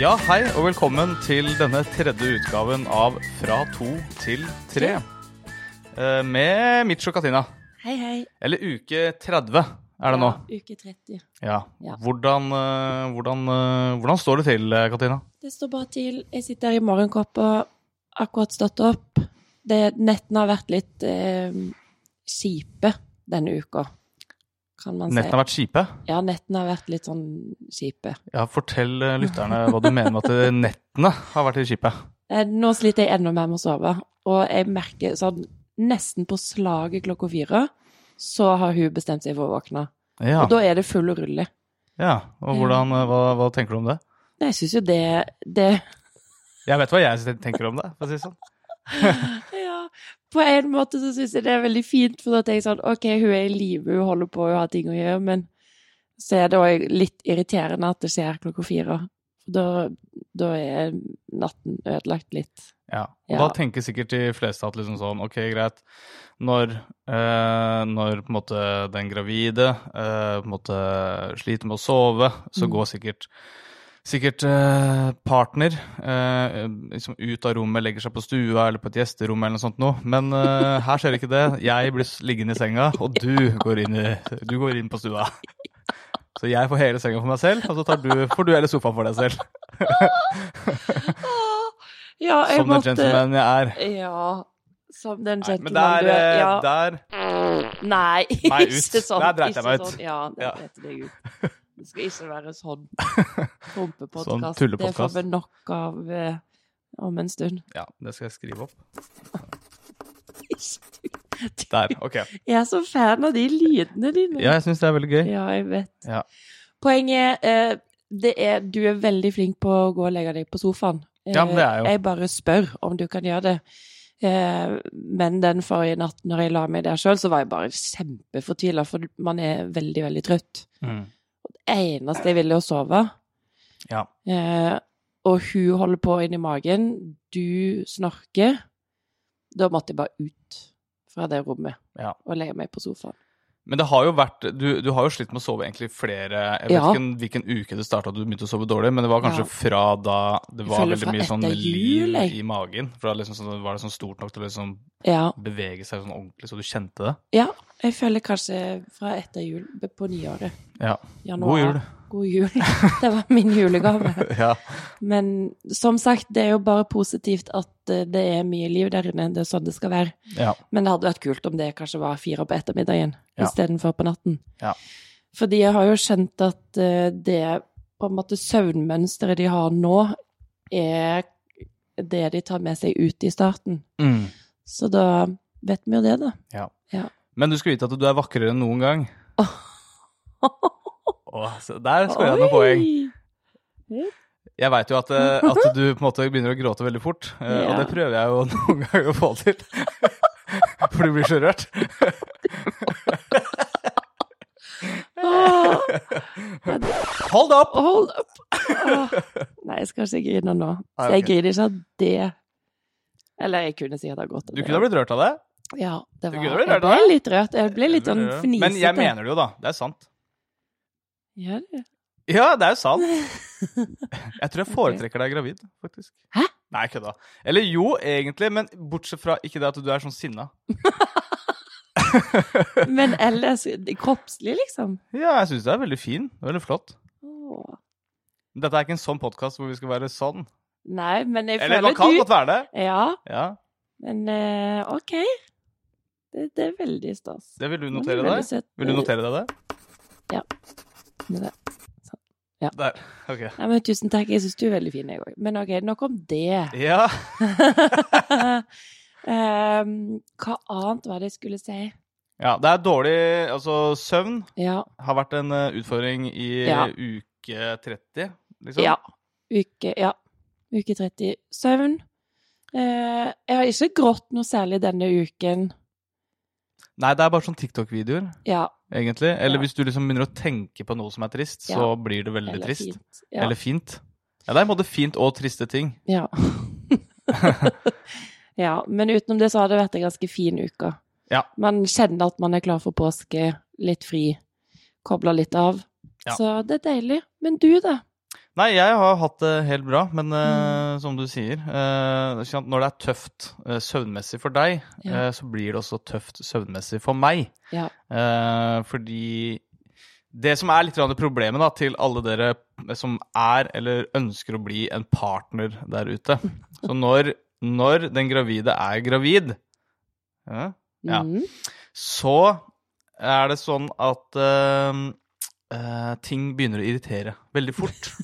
Ja, hei og velkommen til denne tredje utgaven av Fra to til tre. Eh, Med Mitch og Katina. Hei, hei. Eller uke 30 er det nå. Ja, uke 30. Ja. Ja. Hvordan, eh, hvordan, eh, hvordan står det til, eh, Katina? Det står bra til. Jeg sitter her i morgenkåpa, akkurat stått opp. Det, nettene har vært litt eh, kjipe denne uka, kan man Nettene si. har vært kjipe? Ja, nettene har vært litt sånn kjipe. Ja, fortell eh, lytterne hva du mener med at eh, nettene har vært litt kjipe. Eh, Nå sliter jeg enda mer med å sove, og jeg merker sånn nesten på slaget klokka fire, så har hun bestemt seg for å våkne. Ja, Og da er det full rulle. ja. og hvordan, eh, hva, hva tenker du om det? Nei, Jeg syns jo det, det Jeg vet hva jeg tenker om det, for å si det sånn. Ja, på en måte så syns jeg det er veldig fint, for da tenker jeg sånn OK, hun er i live, hun holder på, hun har ting å gjøre, men så er det òg litt irriterende at det skjer klokka fire. Da, da er natten ødelagt litt. Ja, og Ja. da tenker sikkert de fleste at liksom sånn, ok, greit, når, eh, når på en måte den gravide eh, på en måte sliter med å sove, så Mm. går sikkert, sikkert eh, partner eh, liksom ut av rommet, legger seg på stua eller på et gjesterom eller noe sånt noe, men eh, her skjer ikke det. Jeg blir s- liggende i senga, og du går inn, i, du går inn på stua. Så jeg får hele senga for meg selv, og så tar du, får du hele sofaen for deg selv, Ja, jeg som den måtte gentleman jeg er. Ja. Som den Nei, men der, gentleman du er. eh, Ja. der Nei, Nei, ut. ikke sånn. Der dreit jeg ikke meg ut. Sånn. Ja, det Ja. dreit deg ut. Det skal ikke være sånn Sånn prompepodkast. det tullepodcast. får vi nok av eh, om en stund. Ja, det skal jeg skrive opp. Ikke du. Der, ok. Jeg er så fan av de lydene dine. Ja, jeg syns det er veldig gøy. Ja, jeg vet. Ja. Poenget eh, det er du er veldig flink på å gå og legge deg på sofaen. Eh, Ja, men det er jeg jo. Jeg bare spør om du kan gjøre det. Eh, men den forrige natten når jeg la meg der sjøl, så var jeg bare kjempefortvila, for man er veldig, veldig trøtt. Mm. Det eneste jeg ville, var å sove. Ja. Eh, og hun holder på inni magen, du snorker. Da måtte jeg bare ut fra det rommet Ja. og legge meg på sofaen. Men det har jo vært du, du har jo slitt med å sove egentlig flere Jeg vet Ja. ikke hvilken uke det starta at du begynte å sove dårlig, men det var kanskje Ja. fra da det Jeg var føler veldig fra mye sånn etter jul, liv jeg. i magen. For da liksom, sånn- var det sånn stort nok til å liksom Ja, bevege seg sånn ordentlig, så du kjente det. Ja, jeg føler kanskje fra etter jul b- på nyåret. Ja. Januar. God jul. God jul. Det var min julegave. Ja. Men som sagt, det er jo bare positivt at eh, det er mye liv der inne. Det er sånn det skal være. ja. Men det hadde vært kult om det kanskje var fire på ettermiddagen Ja. istedenfor på natten. Ja. Fordi jeg har jo skjønt at eh, det på en måte søvnmønsteret de har nå, er det de tar med seg ut i starten. Mm. Så da vet vi jo det, da. Men du skal vite at du er vakrere enn noen gang. Åh, så der skåra jeg Oi! noen poeng. Jeg veit jo at, eh, at du på en måte begynner å gråte veldig fort, eh, og Ja. det prøver jeg jo noen ganger å få til. For du blir så rørt. Åh, Hold opp! hold opp! Åh. Nei, jeg skal ikke grine nå. Så Nei, Ah, ok. jeg griner ikke av det. Eller jeg kunne sikkert ha gått av Du det. kunne ha blitt rørt av det. Ja, det du var, kunne ha blitt jeg rørt av ble det. litt rørt. Jeg ble litt sånn fnisete. Men jeg mener det jo, da. Det er sant. Ja, det- Ja, det er jo sant. Jeg tror jeg foretrekker deg gravid, faktisk. Hæ? Nei, kødda. Eller jo, egentlig, men bortsett fra ikke det at du er sånn sinna. Men ellers det- kroppslig, liksom. Ja, jeg syns du er veldig fin. Veldig flott. Åh. Dette er ikke en sånn podkast hvor vi skal være sånn. Nei, men jeg Eller føler man kan du godt være det. Ja, Ja, men eh, OK. Det, det er veldig stas. Det vil du Men det er notere veldig deg. søtt. Vil du notere deg det? Men Eh, det- Sånn. Der. Ok. Nei, men tusen takk. Jeg syns du er veldig fin, jeg òg. Men OK, nok om det. Ja. Ehm, hva annet var det jeg skulle si? ja. Det er dårlig Altså, søvn Ja. har vært en eh, utfordring i eh, Ja. uke 30, liksom. ja. Uke, ja. Uke 30. Søvn. Eh, jeg har ikke grått noe særlig denne uken. Nei, det er bare sånn TikTok-videoer, Ja. egentlig. Eller Ja. hvis du liksom begynner å tenke på noe som er trist, Ja. så blir det veldig trist. fint. Ja. Eller fint. Ja, det er en måte fint og triste ting. Ja. ja. Men utenom det så har det vært en ganske fin uke. Ja. Man kjenner at man er klar for påske, litt fri, kobler litt av. Ja. Så det er deilig. Men du, da? Nei, jeg har hatt det helt bra, men Mm. eh, som du sier eh, ikke sant, Når det er tøft eh, søvnmessig for deg, Ja. eh, så blir det også tøft søvnmessig for meg. Ja. Eh, fordi det som er litt grann problemet da, til alle dere som er eller ønsker å bli en partner der ute Så når, når den gravide er gravid ja, Ja. Mm. så er det sånn at eh, eh, ting begynner å irritere veldig fort.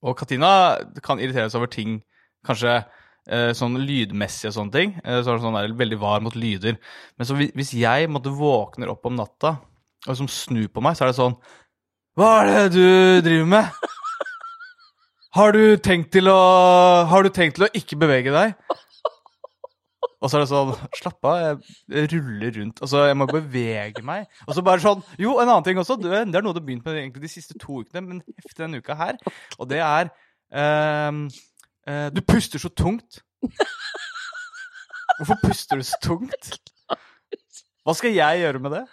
og Katina kan irritere seg over ting, kanskje eh, sånn lydmessig og sånne ting. Eh, så er det sånn der, veldig var mot lyder. Men så hvis- hvis jeg måtte våkner opp om natta og liksom snur på meg, så er det sånn Hva er det du driver med? Har du tenkt til å Har du tenkt til å ikke bevege deg? Og så er det sånn Slapp av, jeg jeg ruller rundt. Altså, jeg må bevege meg. Og så bare sånn Jo, en annen ting også. Det det er noe du har begynt med egentlig de siste to ukene, men heftig denne uka her. Og det er ehm, eh, Du puster så tungt. Hvorfor puster du så tungt? Hva skal jeg gjøre med det?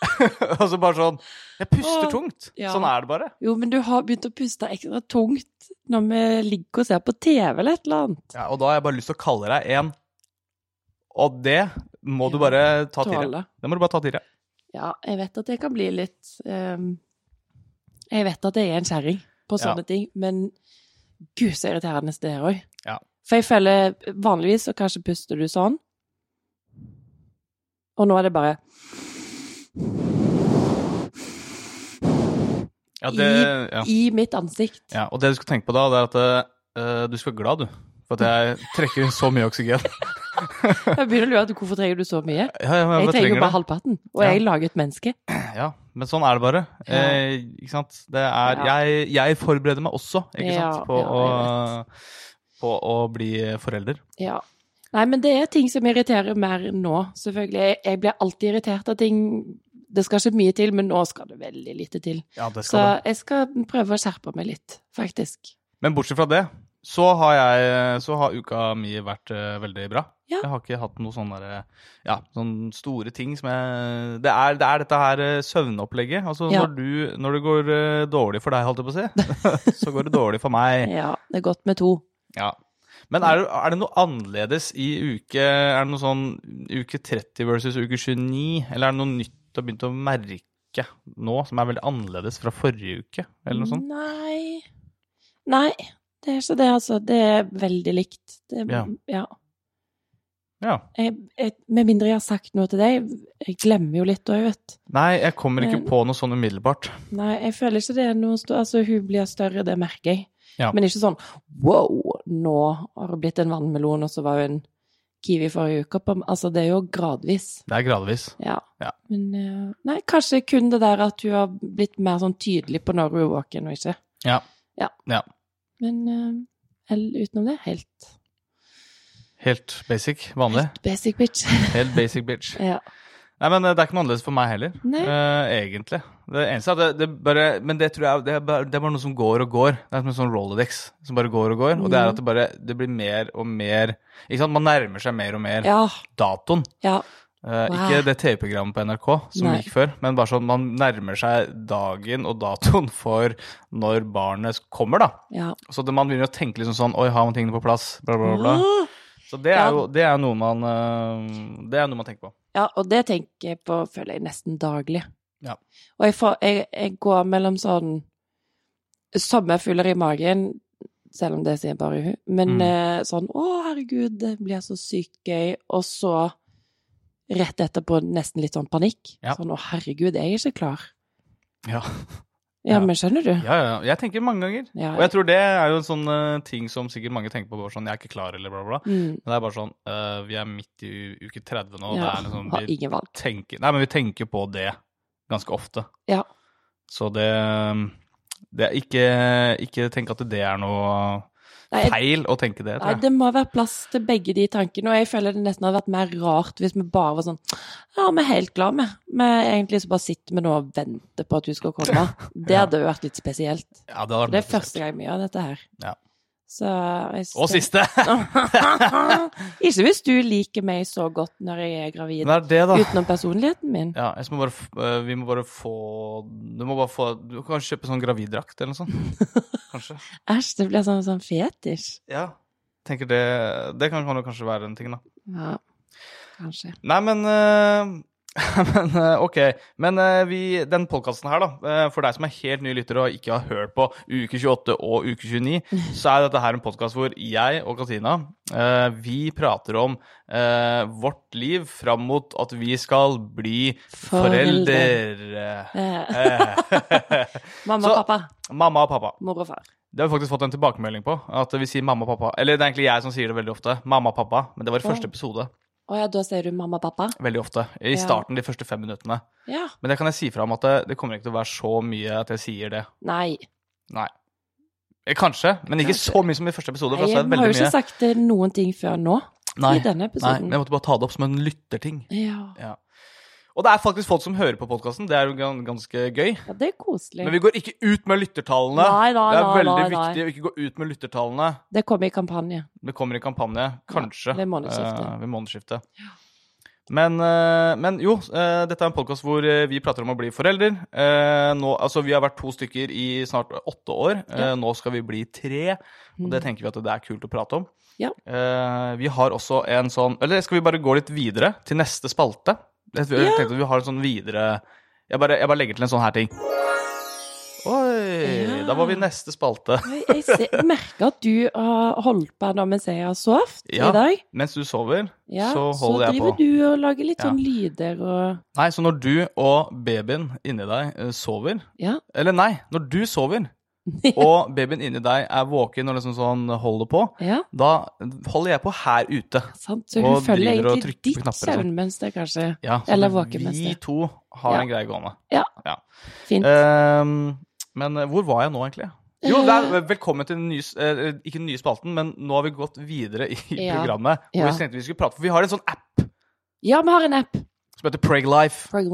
Og så bare sånn Jeg puster Åh, tungt. ja. Sånn er det bare. Jo, men du har begynt å puste ekstra tungt når vi ligger og ser på TV eller et eller annet. Ja, og da har jeg bare lyst til å kalle deg en Og det må du Ja, bare ta til deg. Tåle. Det må du bare ta til deg. Ja, jeg vet at jeg kan bli litt ehm, Jeg vet at jeg er en kjerring på Ja. sånne ting, men gud så irriterende det er òg. Ja. For jeg føler vanligvis så kanskje puster du sånn, og nå er det bare Ja, det, ja. i mitt ansikt. Ja, og det du skal tenke på da, det er at eh, du skal være glad, du. For at jeg trekker inn så mye oksygen. Jeg begynner å lure på hvorfor trenger du så mye. Ja, ja, men Jeg bare trenger jo trenger bare halvparten, og Ja. jeg er laget menneske. det. Ja, men sånn er det bare. Ja. Eh, ikke sant? Det er, Ja. jeg, jeg forbereder meg også, ikke Ja, sant, på, ja, å, på å bli forelder. Ja. Nei, men det er ting som irriterer mer nå, selvfølgelig. Jeg- Jeg blir alltid irritert av ting. Det skal ikke mye til, men nå skal det veldig lite til. Ja, det skal du. Så jeg skal prøve å skjerpe meg litt, faktisk. Men bortsett fra det, så har, jeg, så har uka mi vært eh, veldig bra. Ja. Jeg har ikke hatt noen sånne, der, eh, ja, sånne store ting som jeg Det er, det er dette her eh, søvnopplegget. Altså Ja. når, du, når det går eh, dårlig for deg, holdt jeg på å si, så går det dårlig for meg. Ja, det er godt med to. Ja. Men er, det- er det noe annerledes i uke Er det noe sånn uke 30 versus uke 29? Eller er det noe nytt du har begynt å merke nå, som er veldig annerledes fra forrige uke? Eller noe sånt? Nei. Nei, det er ikke det, altså. Det er veldig likt. Det, Ja. ja. Mm. Ja. Jeg, jeg, med mindre jeg har sagt noe til deg, jeg glemmer jo litt òg, vet du. Nei, jeg kommer ikke Men- på noe sånn umiddelbart. Nei, jeg føler ikke det er noe stort. Altså, hun blir større, det merker jeg. Ja. Men ikke sånn wow, nå har hun blitt en vannmelon, og så var hun en kiwi forrige uke. På, altså, det er jo gradvis. Det er gradvis. Ja. Ja. Men eh, nei, kanskje kun det der at hun har blitt mer sånn tydelig på når hun er våken og ikke. Ja. Ja. Ja. Men eh, ell- utenom det, helt Helt basic. Vanlig. basic bitch. Helt basic bitch. ja. Nei, men eh, det er ikke noe annerledes for meg heller. Nei. Eh, egentlig. Det eneste er at det, det bare Men det tror jeg det er, bare, det er bare noe som går og går. Det er som en sånn Rolodex som bare går og går. Og det er at det bare det blir mer og mer Ikke sant, man nærmer seg mer og mer ja. datoen. Ja. Eh, Wow. Ikke det TV-programmet på NRK som Nei. gikk før, men bare sånn man nærmer seg dagen og datoen for når barnet kommer, da. Ja. Så det, man begynner å tenke liksom sånn Oi, har man tingene på plass? Bla, bla, bla. bla. Så det Ja. er jo det er noe man eh, Det er noe man tenker på. Ja, og det tenker jeg på, føler jeg, nesten daglig. Ja. Og jeg, får, jeg, jeg går mellom sånn sommerfugler i magen, selv om det sier bare hun, men Mm. eh, sånn 'Å, herregud, det blir så sykt gøy', og så rett etterpå nesten litt sånn panikk. Ja. Sånn 'Å, herregud, jeg er ikke klar'. Ja. Ja, Ja. men skjønner du? Ja, ja, ja. Jeg tenker mange ganger. Ja. Og jeg tror det er jo en sånn eh, ting som sikkert mange tenker på, bare sånn, jeg er ikke klar, eller bla, bla, bla. Mm, Men det er bare sånn, eh, vi er midt i u- uke 30 nå, og det ja. er liksom, Har vi ingen valg. tenker, nei, men vi tenker på det ganske ofte. Ja. Så det, det er ikke, ikke tenk at det er noe Nei, jeg- feil å tenke det, Nei, tror jeg. det må være plass til begge de tankene, og jeg føler det nesten hadde vært mer rart hvis vi bare var sånn Ja, vi er helt glad med. Vi egentlig så bare sitter vi nå og venter på at du skal komme. Det hadde jo vært litt spesielt. Ja, det hadde vært Det er spesielt. første gang vi gjør dette her. Ja. Så jeg Og synes- siste! ikke hvis du liker meg så godt når jeg er gravid, Det er det, da. utenom personligheten min. Ja, jeg må bare, f- eh, vi må bare få Du må bare få Du kan kanskje kjøpe sånn graviddrakt eller noe sånt. Kanskje. Æsj, det blir sånn, sånn fetisj. Ja. Tenker det Det kan, kan jo kanskje være en ting, da. Ja, kanskje. Nei, men eh, Men eh, OK. Men eh, vi, den podkasten her, da. eh, for deg som er helt ny lytter og ikke har hørt på uke 28 og uke 29, så er dette her en podkast hvor jeg og Katina eh, vi prater om eh, vårt liv fram mot at vi skal bli forelder. Eh, Eh, mamma Så- og pappa. mamma og pappa. Mor og far. Det har vi faktisk fått en tilbakemelding på. At vi sier mamma og pappa. Eller det er egentlig jeg som sier det veldig ofte. Mamma og pappa. Men det var i første Å. episode. Å ja, da sier du mamma og pappa? Veldig ofte. I Ja. starten, de første fem minuttene. Ja. Men det kan jeg si fra om at det, det kommer ikke til å være så mye at jeg sier det. Nei. Nei. Eh, Kanskje, men ikke Kanskje. så mye som i første episode. For da Jeg sa jeg har jo veldig ikke mye. sagt eh, noen ting før nå, Nei, i denne nei, episoden. men jeg måtte bare ta det opp som en lytterting. Ja. Og det er faktisk folk som hører på podkasten. Det er jo gan- ganske gøy. ja, det er koselig. Men vi går ikke ut med lyttertallene. Nei, nei, det er nei, veldig nei, nei. viktig å ikke gå ut med lyttertallene. Det kommer i kampanje. Det kommer i kampanje, kanskje. ved månedsskiftet. eh, ved månedsskiftet. Men, eh, men jo, eh, dette er en podkast hvor eh, vi prater om å bli forelder. Eh, nå, altså, vi har vært to stykker i snart åtte år. Eh, Ja. Mm. Nå skal vi bli tre, og det tenker vi at det er kult å prate om. Ja. Eh, vi har også en sånn Eller skal vi bare gå litt videre til neste spalte? Jeg tenkte Ja. at vi har en sånn videre jeg bare, jeg bare legger til en sånn her ting. Oi! Ja. Da var vi i neste spalte. Jeg, jeg ser, merker at du har holdt på nå mens jeg har sovet Ja. i dag. Mens du sover, Ja, så holder jeg på. driver du og lager litt Ja. sånn lyder og Nei, så når du og babyen inni deg eh, sover Ja. Eller nei, når du sover og babyen inni deg er våken og liksom sånn holder på, ja da holder jeg på her ute. sant? Så Og hun følger driver og egentlig trykker på ditt knapper og sånn. søvnmønster, kanskje. Ja, så Eller vi våkenmester. to har Ja. en greie gående. Fint. Eh. Ehm, men eh, hvor var jeg nå, egentlig? Jo, det er, velkommen til den nye, s- eh, ikke den nye spalten, men nå har vi gått videre i Ja. programmet. Hvor Ja. vi tenkte vi skulle prate, for vi har en sånn app Ja, vi har en app. som heter Preglife. Frog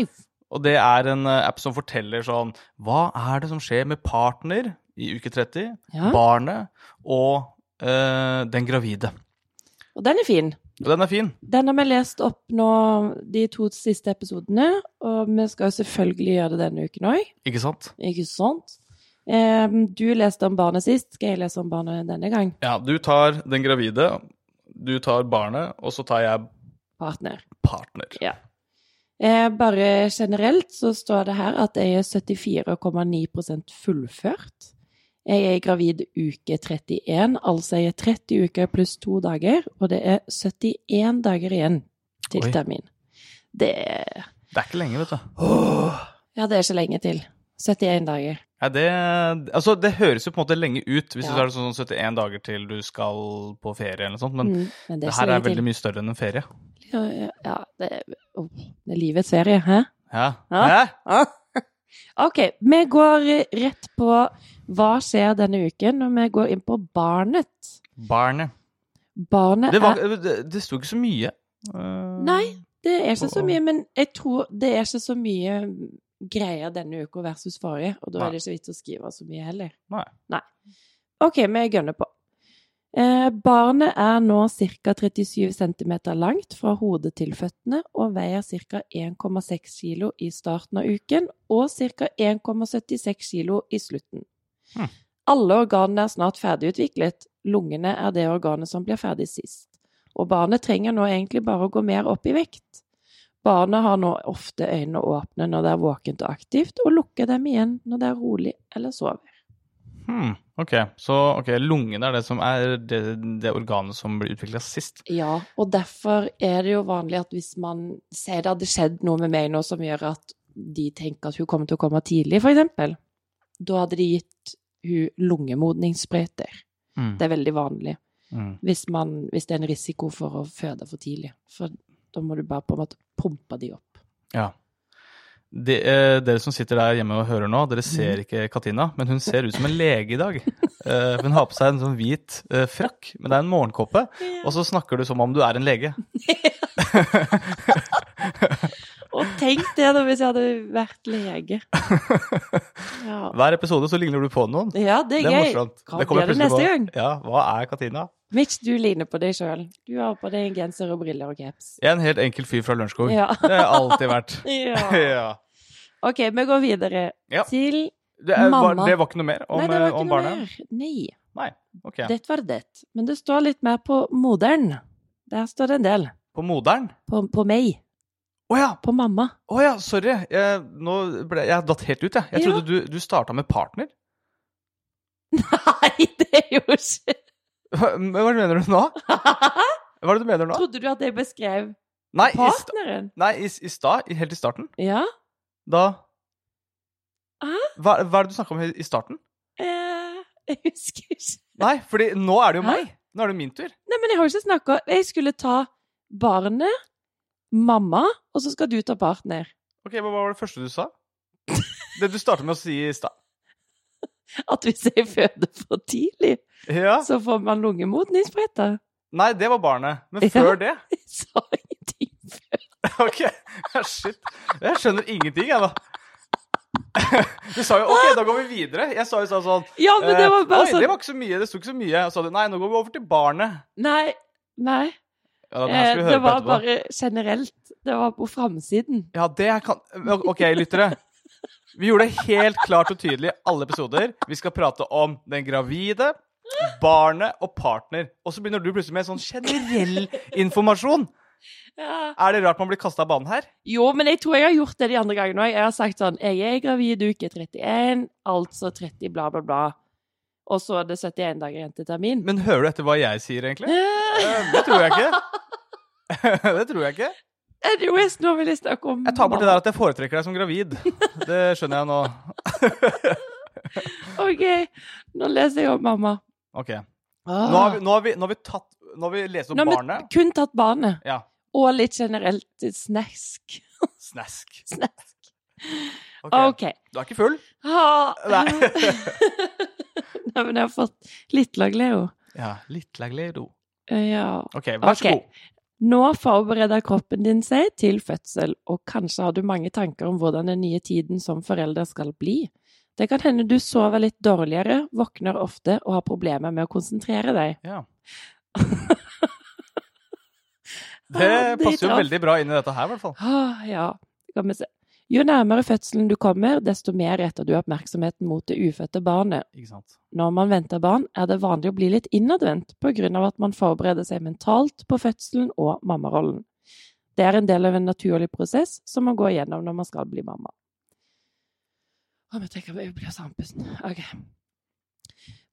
Life. Og det er en eh, app som forteller sånn Hva er det som skjer med partner i uke 30, Ja. barnet og eh, den gravide? Og den er fin. Og den er fin. Den har vi lest opp nå de to siste episodene, og vi skal jo selvfølgelig gjøre det denne uken òg, Ikke sant? ikke sant? Ehm, Du leste om barnet sist, skal jeg lese om barnet denne gang? Ja, du tar den gravide, du tar barnet, og så tar jeg Partner. partner. Eh, Bare generelt så står det her at jeg er 74,9 fullført. Jeg er gravid uke 31, altså jeg er 30 uker pluss to dager, og det er 71 dager igjen til Oi. termin. Det er Det er ikke lenge, vet du. Ja, det er ikke lenge til. 71 dager. Ja, det, altså, det høres jo på en måte lenge ut hvis Ja. du tar det sånn 71 dager til du skal på ferie eller noe sånt, men Mm, men det ikke her lenge er veldig mye større enn en ferie. til. Ja, ja, Ja, det er, åh, det er livets ferie, hæ? Ja. Ja. Hæ? Ok, vi går rett på hva skjer denne uken, og vi går inn på barnet. Barnet. Barnet Det, var, er det, det sto ikke så mye. eh, Nei, det er ikke så Og- mye, men jeg tror det er ikke så mye greier denne uka versus forrige, og da er det ikke vits å skrive så mye heller. Nei. OK, vi gønner på. Eh, barnet er nå ca. 37 cm langt fra hodet til føttene og veier ca. 1,6 kg i starten av uken og ca. 1,76 kg i slutten. Hm. Alle organene er snart ferdigutviklet. Lungene er det organet som blir ferdig sist. Og barnet trenger nå egentlig bare å gå mer opp i vekt. Barnet har nå ofte øynene åpne når det er våkent og aktivt, og lukker dem igjen når det er rolig eller sover. Hmm, ok, så ok, lungene er det som er det, det organet som blir utvikla sist. Ja, og derfor er det jo vanlig at hvis man sier det hadde skjedd noe med meg nå som gjør at de tenker at hun kommer til å komme tidlig, for eksempel, da hadde de gitt hun lungemodningssprøyter. Mm. Det er veldig vanlig Mm. hvis, man, hvis det er en risiko for å føde for tidlig. For da må du bare på en måte pumpe de opp. Ja. De, eh, dere som sitter der hjemme og hører nå, dere ser ikke Katina, men hun ser ut som en lege i dag. Eh, hun har på seg en sånn hvit eh, frakk, men det er en morgenkåpe, og så snakker du som om du er en lege. Og Tenk det da, hvis jeg hadde vært lege. Ja, Hver episode så ligner du på noen. ja det Det er er gøy. morsomt. Hva kommer blir det plutselig neste på- gang? Ja, hva er Katina? Mitch, du ligner på deg sjøl. Du har på deg en genser og briller og caps. En helt enkel fyr fra Lørenskog. Ja. Det har jeg alltid vært. ja. Ja. OK, vi går videre Ja. til Det, er, var, Mamma. det var ikke noe mer om, Nei, det var eh, ikke om noe barnet? mer. Nei. Ok. Det var det. Men det står litt mer på moderen. Der står det en del. På moderen? På, på meg. Å ja! På mamma. Å ja, sorry. Jeg, nå ble, jeg datt helt ut, jeg. Jeg Ja. trodde du, du starta med partner. Nei, det er jo ikke Hva, hva er det du mener du nå? Hva er det du mener nå? Trodde du at jeg beskrev Nei, i, sta- partneren? nei i, i stad, i- helt i starten, Ja. da Hæ? Hva, hva er det du snakka om i i starten? Eh, jeg husker ikke. Nei, fordi nå er det jo Hæ? meg. Nå er det min tur. Nei, men jeg har jo ikke snakka Jeg skulle ta barnet, mamma, og så skal du ta partner. Ok, men Hva var det første du sa? Det du starta med å si i stad? At hvis jeg føder for tidlig, Ja. så får man lungemodningsbretter. Nei, det var barnet. Men Ja. før det Jeg sa ingenting før. Ok, shit. Jeg skjønner ingenting, jeg, da. Du sa jo OK, da går vi videre. Jeg sa jo sa sånn Ja, men det var eh, bare Oi, sånn det var ikke så mye. Det sto ikke så mye. Og så sa du nei, nå går vi over til barnet. Nei. Nei. Ja, det her Eh, skal vi det høre på var etterpå. bare generelt. Det var på framsiden. Ja, det kan eh, OK, lyttere. Vi gjorde det helt klart og tydelig i alle episoder. Vi skal prate om den gravide, barnet og partner. Og så begynner du plutselig med sånn generell informasjon. Ja. Er det rart man blir kasta av banen her? Jo, men jeg tror jeg har gjort det de andre gangene òg. Jeg har sagt sånn Jeg er gravid uke 31, altså 30 bla, bla, bla. Og så er det 71 dager igjen til termin. Men hører du etter hva jeg sier, egentlig? Eh, Eh, Det tror jeg ikke. Det tror jeg ikke. Anyways, nå vil jeg snakke om Jeg tar bort det der at jeg foretrekker deg som gravid. Det skjønner jeg nå. OK, nå leser jeg om mamma. Ok. Nå har vi, nå har vi, nå har vi tatt Nå har vi lest om Ah. Nå har vi barnet. kun tatt barnet. Ja. Og litt generelt snask. Snask. Snask. Ok. OK. Du er ikke full? Ha, Nei. Nei, men jeg har fått litt lag Leo. Ja. Litt lagledo. Eh, Ja. Ok, vær så Ok. god. Nå forbereder kroppen din seg til fødsel, og kanskje har du mange tanker om hvordan den nye tiden som forelder skal bli. Det kan hende du sover litt dårligere, våkner ofte og har problemer med å konsentrere deg. Ja. Det Ah, det passer jo traff. veldig bra inn i dette her, i hvert fall. Ah, ja, det kan vi se. Jo nærmere fødselen du kommer, desto mer retter du oppmerksomheten mot det ufødte barnet. Ikke sant. Når man venter barn, er det vanlig å bli litt innadvendt på grunn av at man forbereder seg mentalt på fødselen og mammarollen. Det er en del av en naturlig prosess som man går gjennom når man skal bli mamma. Å, men tenk om jeg blir så andpusten. Ok.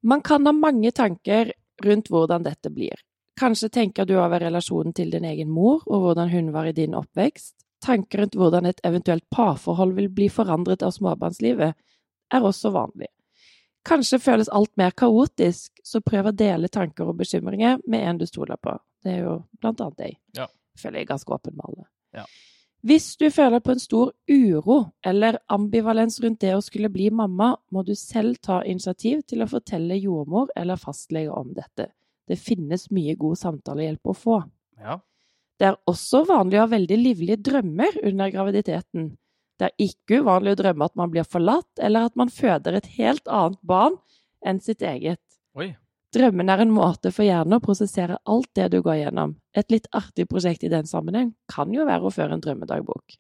Man kan ha mange tanker rundt hvordan dette blir. Kanskje tenker du over relasjonen til din egen mor, og hvordan hun var i din oppvekst. Tanker rundt hvordan et eventuelt parforhold vil bli forandret av småbarnslivet, er også vanlig. Kanskje føles alt mer kaotisk, så prøv å dele tanker og bekymringer med en du stoler på. Det er jo blant annet deg. Ja. Føler jeg er ganske åpen med alle. Ja. Hvis du føler på en stor uro eller ambivalens rundt det å skulle bli mamma, må du selv ta initiativ til å fortelle jordmor eller fastlege om dette. Det finnes mye god samtalehjelp å få. Ja. Det er også vanlig å ha veldig livlige drømmer under graviditeten. Det er ikke uvanlig å drømme at man blir forlatt, eller at man føder et helt annet barn enn sitt eget. Oi. Drømmen er en måte for hjernen å prosessere alt det du går gjennom. Et litt artig prosjekt i den sammenheng kan jo være å føre en drømmedagbok.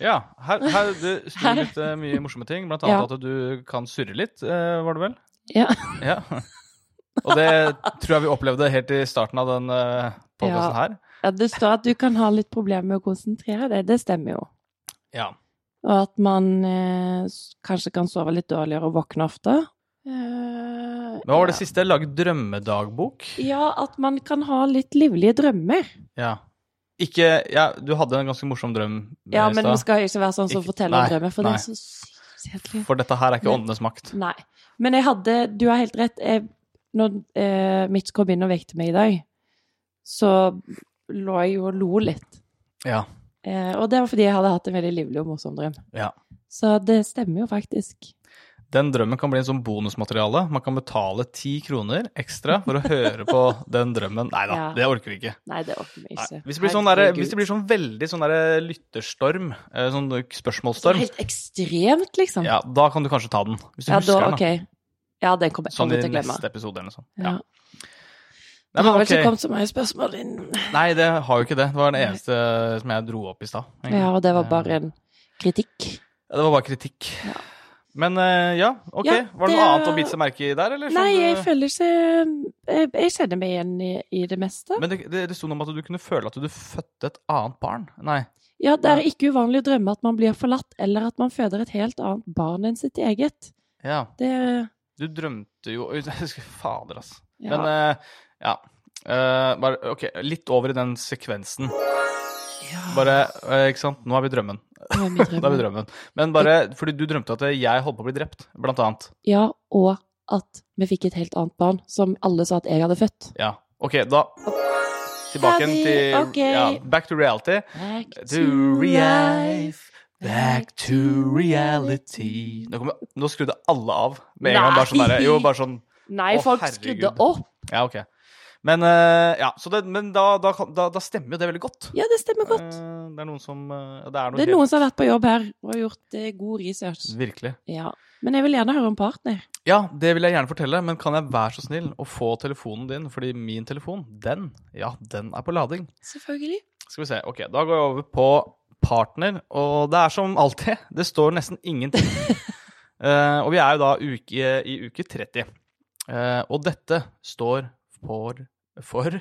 Ja. Her, her det sto Her. litt eh, mye morsomme ting. Blant annet Ja. at du kan surre litt, eh, var det vel? Ja. ja. Og det tror jeg vi opplevde helt i starten av den uh, podkasten her. Ja, det står at du kan ha litt problemer med å konsentrere deg, det stemmer jo. Ja. Og at man eh, s- kanskje kan sove litt dårligere og våkne ofte. Eh, Hva var det ja. siste? Lag drømmedagbok? Ja, at man kan ha litt livlige drømmer. Ja. Ikke ja, Du hadde en ganske morsom drøm eh, Ja, i men stad. vi skal ikke være sånn som Ikke- forteller om nei, drømmer, for nei. det er så sykt kjedelig. For dette her er ikke Nei. åndenes makt. Nei. Men jeg hadde Du har helt rett. Jeg, når eh, Mitch kom inn og vekte meg i dag, så lå jeg jo og lo litt. Ja. Eh, og det var fordi jeg hadde hatt en veldig livlig og morsom drøm. Ja. Så det stemmer jo faktisk. Den drømmen kan bli en sånn bonusmateriale. Man kan betale ti kroner ekstra for å høre på den drømmen. Nei da, Ja. det orker vi ikke. Nei, det orker vi Nei. ikke. Hvis, det blir sånn derre- Herregud. hvis det blir sånn veldig sånn derre lytterstorm, eh, sånn Sånn spørsmålsstorm, Helt ekstremt, liksom. ja, da kan du kanskje ta den. Hvis du Ja, husker da, den, da. ok. Ja, den kommer jeg Sånn aldri i til å glemme. neste episode eller noe sånt. Ja. Ja. Nei, Det har men vel ikke ok. kommet så mange spørsmål inn. Nei, det har jo ikke det. Det var den Nei. eneste som jeg dro opp i stad. egentlig. Ja, og det var Eh, bare en kritikk. ja, Det var bare kritikk. Ja. Men eh, ja, ok. Ja, var det det noe annet var- å bite seg merke i der, eller? Nei, Sånn, jeg eh, føler ikke eh, Jeg, jeg kjenner meg igjen i, i det meste. Men det, det, det sto noe om at du kunne føle at du fødte et annet barn. Nei. Ja, det er ikke uvanlig å drømme at man blir forlatt, eller at man føder et helt annet barn enn sitt eget. Ja. Det Du drømte jo Fader, altså. ja. Men eh, ja. Eh, bare, ok, litt over i den sekvensen. Ja, Bare, eh, ikke sant? Nå er vi i drømmen. nå er vi i Nå er vi i drømmen. drømmen. Men bare fordi du drømte at jeg holdt på å bli drept, blant annet. Ja, og at vi fikk et helt annet barn, som alle sa at jeg hadde født. Ja. OK, da Tilbake igjen til Ferdig, ok. ja, Back to reality. Back To life, back to reality reality. Nå, kommer, nå skrudde alle av med en gang. Nei. Bare sånn der, jo, bare sånn Nei, Å, folk herregud. skrudde opp. Ja, OK. Men, eh, ja, så det, men da, da, kan- da, da stemmer jo det veldig godt. Ja, det stemmer godt. Eh, det er noen som eh, ja, Det er noe, Det er helt- noen som har vært på jobb her og gjort eh, god research. Virkelig. Ja. Men jeg vil gjerne høre om partner. Ja, det vil jeg gjerne fortelle, men kan jeg være så snill å få telefonen din? Fordi min telefon, den, ja, den er på lading. Selvfølgelig. Skal vi se. Ok, da går jeg over på partner, og det er som alltid. Det står nesten ingenting. Eh, og vi er jo da uke, i uke 30. Eh, og dette står for, for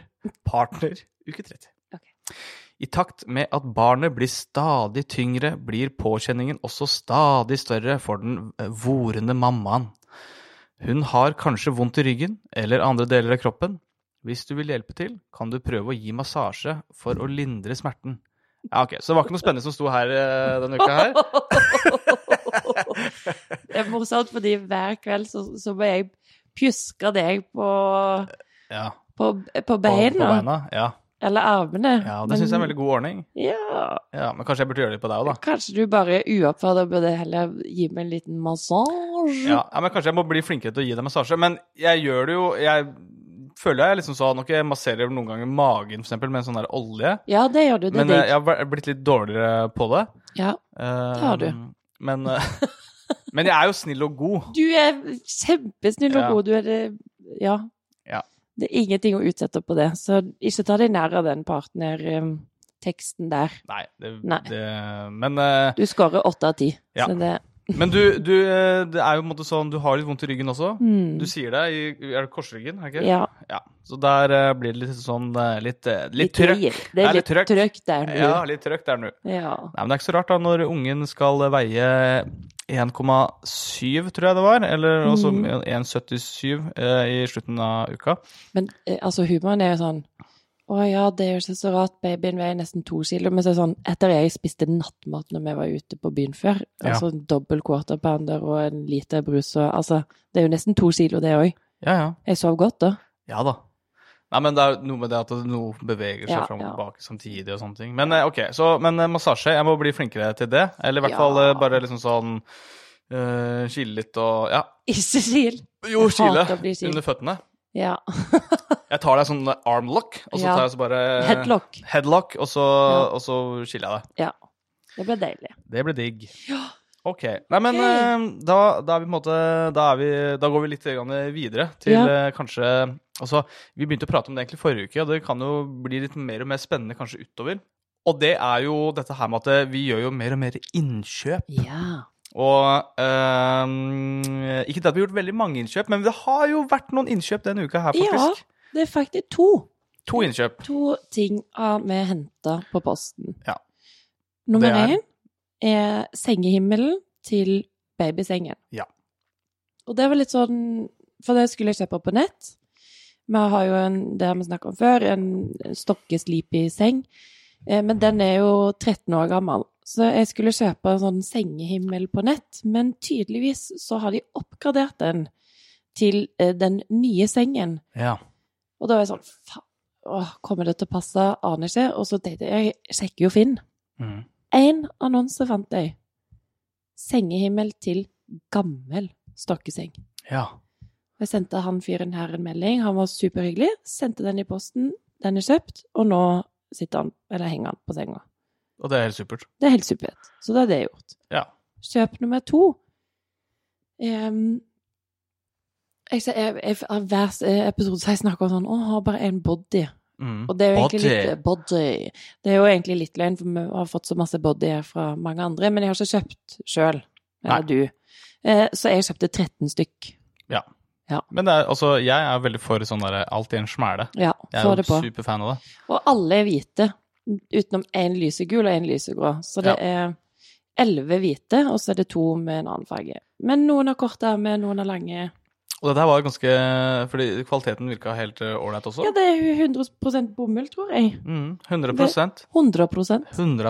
partner uke 30. Ok. I takt med at barnet blir stadig tyngre, blir påkjenningen også stadig større for den eh, vorende mammaen. Hun har kanskje vondt i ryggen eller andre deler av kroppen, hvis du vil hjelpe til, kan du prøve å gi massasje for å lindre smerten. Ja, ok, Så det var ikke noe spennende som sto her eh, denne uka her? det er morsomt, fordi hver kveld så, så må jeg pjuske deg på, Ja, på, på på, på beina. beina. Ja, Eller armene. ja det syns jeg er en veldig god ordning. Ja. Ja, Men kanskje jeg burde gjøre litt på deg òg, da. Kanskje du bare uoppfordra burde heller gi meg en liten massasje? Ja, ja, men Kanskje jeg må bli flinkere til å gi deg massasje. Men jeg gjør det jo Jeg føler jeg liksom sånn Ok, jeg masserer noen ganger magen for eksempel, med en sånn der olje. Ja, det gjør du. Det Men eh, er digg. jeg har blitt litt dårligere på det. Ja. det har du. Men, eh, men jeg er jo snill og god. Du er kjempesnill og Ja. god. Du er det Ja. Ja. Det er ingenting å utsette på det, så ikke ta deg nær av den partnerteksten der. Nei. Det, Nei. Det, men eh, Du scorer åtte av ti. Ja. Så det Men du, du, eh, det er jo på en måte sånn, du har litt vondt i ryggen også. hmm. Du sier det i er det korsryggen, er det ikke? Ja. Så der eh, blir det litt sånn eh, litt, eh, litt trøkk. gir. Det er er litt litt trøkk. trøkk der nå. Ja, litt trøkk der nå. Ja. Nei, men det er ikke så rart da, når ungen skal veie 1,7, tror jeg det var, eller også Mhm. 1,77 eh, i slutten av uka. Men eh, altså, humoren er jo sånn å ja, det er jo ikke så rart, babyen veier nesten to kilo. Men så er det sånn, etter jeg spiste nattmat når vi var ute på byen før, Ja. altså en dobbel quarter pounder og en liter brus og altså Det er jo nesten to kilo, det òg. Ja, ja. Jeg sov godt, da. Ja da. Nei, men det er noe med det at noe beveger seg Ja, fram og ja. tilbake samtidig og sånne ting. Men eh, ok, så, men eh, massasje, jeg må bli flinkere til det. Eller i hvert Ja. fall eh, bare liksom sånn uh, Kile litt og Ja. Ikke sil. Jo, Jeg kile hater å bli skilt. under føttene. Ja. Jeg tar deg sånn arm lock, og så Ja. tar jeg så bare Headlock. headlock, og så, Ja. og så skiller jeg deg. Det ble deilig. Det blir digg. Ja. Ok. Nei, men Ok. eh, da, da er vi på en måte Da, er vi, da går vi litt grann videre til Ja. eh, kanskje Altså, vi begynte å prate om det egentlig forrige uke, og det kan jo bli litt mer og mer spennende kanskje utover. Og det er jo dette her med at eh, vi gjør jo mer og mer innkjøp. Ja. Og eh, ikke det at vi har gjort veldig mange innkjøp, men det har jo vært noen innkjøp denne uka her, Ja. faktisk. Det er faktisk to. To innkjøp. To ting har vi henta på posten. Ja. Nummer Det er- én er sengehimmelen til babysengen. Ja. Og det var litt sånn For det skulle jeg kjøpe på nett. Vi har jo en, det har vi snakket om før, en stokkeslipig seng. Eh, Men den er jo 13 år gammel. Så jeg skulle kjøpe en sånn sengehimmel på nett, men tydeligvis så har de oppgradert den til eh, den nye sengen. Ja. Og da var jeg sånn, faen, åh, kommer det til å passe? Aner ikke. Og så tenkte jeg, jeg sjekker jo Finn. Mm. En annonse fant jeg. Sengehimmel til gammel stokkeseng. Ja. Jeg sendte han fyren her en melding, han var superhyggelig, sendte den i posten, den er kjøpt, og nå sitter han, eller henger han på senga. Og det er helt supert. Det er helt supert. Så da er det gjort. Ja. Kjøp nummer to. Em, jeg, ser- jeg, jeg, av hver s- episode så jeg snakker om sånn, å, har bare en body. Mm. Og det er jo egentlig Body. litt body. Det er jo egentlig litt løgn, for vi har fått så masse body fra mange andre, men jeg har ikke kjøpt sjøl. Nei. Eller du. Eh, så jeg kjøpte 13 stykk. Men det er, altså, jeg er veldig for sånn derre alt i en smæle. Ja, Jeg få er det jo på. superfan av det. Og alle er hvite, utenom én lysegul og én lysegrå. Så det er elleve hvite, og så er det to med en annen farge. Men noen har korte armer, noen har lange. Og dette her var ganske Fordi kvaliteten virka helt eh, ålreit også. Ja, det er jo 100 bomull, tror jeg. Mm, 100 100 100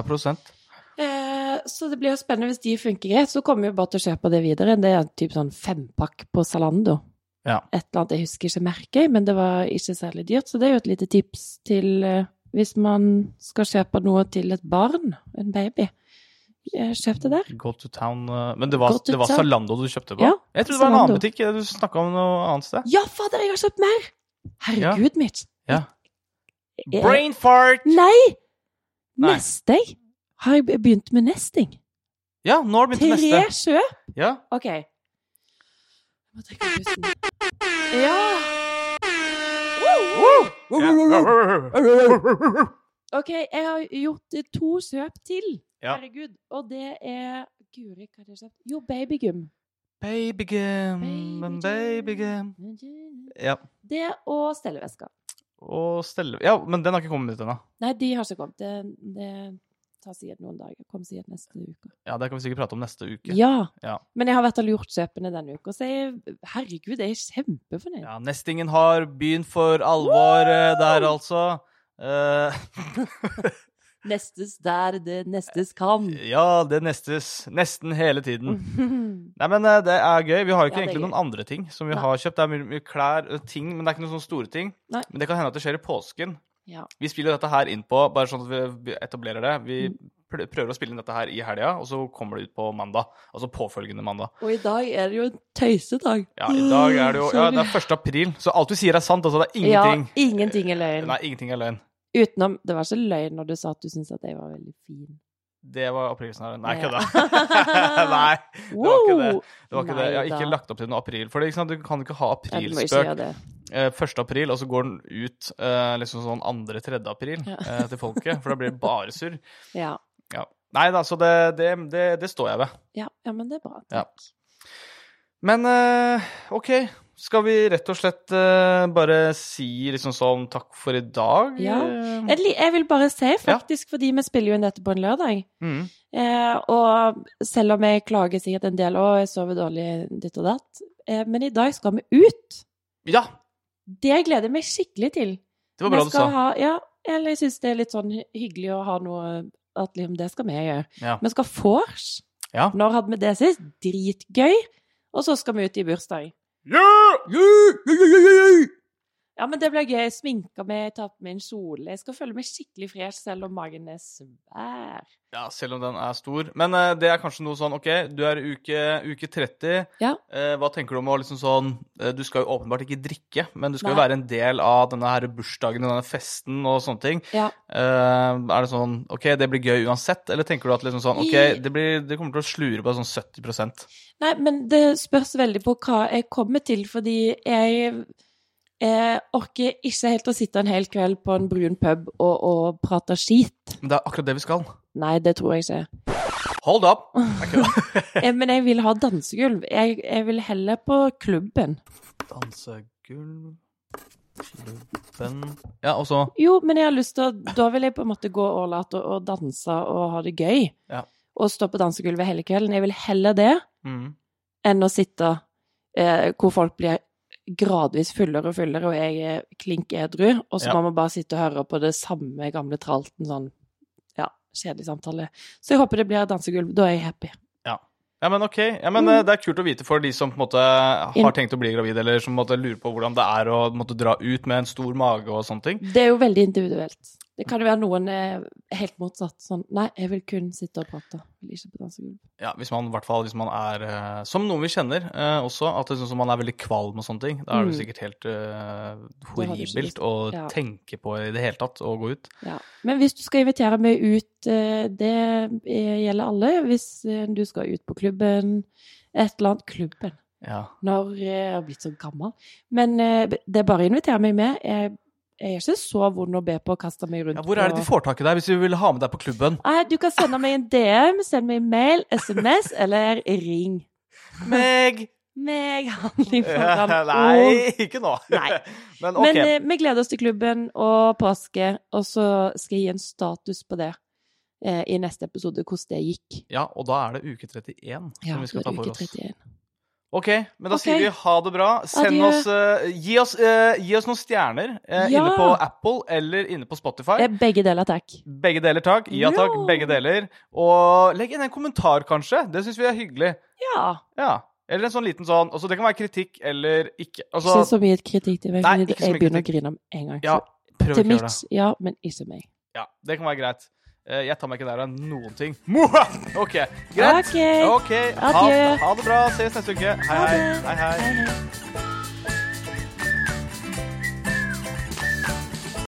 Eh, Så det blir jo spennende hvis de funker greit. Så kommer vi jo bare til å kjøpe det videre. Det er typ sånn fempakk på Zalando. Ja. Et eller annet, jeg husker ikke merket, men det var ikke særlig dyrt. Så det er jo et lite tips til eh, hvis man skal kjøpe noe til et barn, en baby. Eh, Kjøp det der. Go to town eh, Men det var, Go to det var town. Zalando du kjøpte på? Ja, jeg trodde det var en Zalando. annen butikk. eh, Du snakka om noe annet sted. Ja, fader, jeg har kjøpt mer! Herregud, mitt. Ja. Jeg- Brain fart! Nei! Nei. Nesting. Har jeg begynt med nesting? Ja, nå har det begynt Tre neste. sjø? Ja. Ok. Jeg må trekke pusten. Ja! Ja. Ok, jeg har gjort eh, to kjøp til. Ja. Herregud. Og det er Guri, hva har jeg kjøpt? Jo, babygym. Babygum, babygum Ja. Det og stellevesker. Og stelle... Ja, men den har ikke kommet ut ennå. Nei, de har ikke kommet. Det, det tar sikkert noen dager. Kommer sikkert neste uke. Ja, det kan vi sikkert prate om neste uke. Ja. Ja. Men jeg har i hvert fall gjort kjøpene denne uka, så jeg, herregud, jeg er kjempefornøyd. Ja, Nestingen har begynt for alvor eh, der, altså. Eh, Nestes der, det nestes kan. ja, det nestes nesten hele tiden. Nei, men eh, det er gøy. Vi har jo ikke Mm. Ja, det er egentlig gøy. noen andre ting som vi Nei. har kjøpt. Det er mye, mye klær og ting, men det er ikke noen sånne store ting. Nei. Men det kan hende at det skjer i påsken. Ja. Vi spiller dette her inn på, bare sånn at vi etablerer det. Vi Mm. pl- prøver å spille inn dette her i helga, og så kommer det ut på mandag. Altså påfølgende mandag. Og i dag er det jo en tøysedag. Ja, i dag er det jo Ja, Sorry. det er 1. april, så alt vi sier er sant. Altså, det er Ja, ingenting. ingenting er løgn. Nei, ingenting er løgn. Utenom Det var ikke løgn når du sa at du syntes at jeg var veldig fin. Det var aprilsnarren. Nei, Ja. kødda. Nei, det var ikke det. det, var ikke det. Jeg har Nei ikke da. lagt opp til noe april. For det, ikke sant? du kan ikke ha Ja, du må ikke aprilspøk gjøre det. eh, 1. april, og så går den ut eh, liksom sånn 2.-3. april Ja. eh, til folket, for da blir det bare surr. Ja. Ja. Nei da, så det, det, det, det står jeg ved. Ja, ja, men det er bra. Ja. Takk. Men eh, OK, skal vi rett og slett eh, bare si liksom sånn takk for i dag? Ja. Eh, Jeg, li- jeg vil bare si, faktisk, fordi vi spiller jo inn dette på en lørdag, Mm, eh, og selv om jeg klager sikkert en del, og jeg sover dårlig ditt og datt, eh, men i dag skal vi ut. ja, Det gleder jeg meg skikkelig til. det var bra Vi du sa. skal Ha, ja, eller jeg syns det er litt sånn hy- hyggelig å ha noe at liksom, det skal vi gjøre. Ja. Vi skal vors. Ja. Når hadde vi det sist? Dritgøy. Og så skal vi ut i bursdag. Yeah! Yeah! Yeah, yeah, yeah, yeah! Ja, men det blir gøy. Jeg sminker meg, tar på meg en kjole. Jeg skal føle meg skikkelig fresh selv om magen er svær. Ja, selv om den er stor. Men eh, det er kanskje noe sånn OK, du er i uke, uke 30. Ja. Eh, hva tenker du om å liksom sånn eh, Du skal jo åpenbart ikke drikke, men du skal jo Nei. være en del av denne her bursdagen og denne festen og sånne ting. Ja. Eh, er det sånn OK, det blir gøy uansett, eller tenker du at liksom sånn OK, I- det, blir, det kommer til å slure på sånn 70 Nei, men det spørs veldig på hva jeg kommer til, fordi jeg eh, orker ikke helt å sitte en hel kveld på en brun pub og, og prate skit. Men det er akkurat det vi skal. Nei, det tror jeg ikke. Hold up! Eh, Men jeg vil ha dansegulv. Jeg, jeg vil heller på klubben. Dansegulv Klubben Ja, og så Jo, men jeg har lyst til å Da vil jeg på en måte gå all out og, og danse og ha det gøy. Ja. Og stå på dansegulvet hele kvelden. Jeg vil heller det mm, enn å sitte eh, hvor folk blir gradvis fullere og fullere, og jeg er klink edru, og så Ja. må man bare sitte og høre på det samme gamle tralten, sånn ja, kjedelig samtale. Så jeg håper det blir dansegulv. Da er jeg happy. Ja, men ok. Ja, men Mm. eh, Det er kult å vite for de som på en måte har In- tenkt å bli gravid, eller som på en måte lurer på hvordan det er å måtte dra ut med en stor mage og sånne ting. Det er jo veldig individuelt. Det kan jo være noen er helt motsatt. Sånn Nei, jeg vil kun sitte og prate. Jeg vil ikke på dansegulv. Ja, hvis man i hvert fall hvis man er eh, Som noen vi kjenner eh, også, at det er sånn som man er veldig kvalm og sånne ting. Da er det Mm. sikkert helt eh, Det har du ikke lyst horribelt å Ja. tenke på i det hele tatt å gå ut. Ja. Men hvis du skal invitere meg ut, eh, det eh, gjelder alle. Hvis eh, du skal ut på klubben, et eller annet Klubben. Ja. Når eh, jeg har blitt så gammel. Men eh, det er bare å invitere meg med. Jeg, jeg er ikke så vond å be på å kaste meg rundt ja hvor er det de på får tak i deg hvis vi vil ha med deg på klubben? Nei, du kan sende meg en DM, send meg en mail, SMS eller ring. Meg! Meg handling foran ord. Nei, ikke nå. Nei. Men Men ok. eh, vi gleder oss til klubben og påske, og så skal jeg gi en status på det eh, i neste episode, hvordan det gikk. ja, og da er det uke 31 Ja, som vi skal det ta er for uke oss. 31. Ok, men da Ok. sier vi ha det bra. Send Adjø. oss, eh, gi, oss, eh, gi oss noen stjerner eh, Ja. inne på Apple eller inne på Spotify. Eh, Begge deler, takk. Begge deler, takk. Ja takk, Ja. begge deler. Og legg inn en kommentar, kanskje. Det syns vi er hyggelig. Ja. Ja. Eller en sånn liten sånn. Altså, det kan være kritikk eller ikke. Ikke Altså, så mye kritikk til meg, Nei, fordi ikke så mye jeg begynner å grine med en gang. ja, prøv ikke å gjøre Til det. mitt, ja, men ikke meg. Ja, det kan være greit. Eh, Jeg tar meg ikke nær av noen ting. Moha! OK, greit. Ok. OK. Ha, Adjø. ha det bra. Ses neste uke. Hei, Ha hei. det. hei, hei. Hei, hei.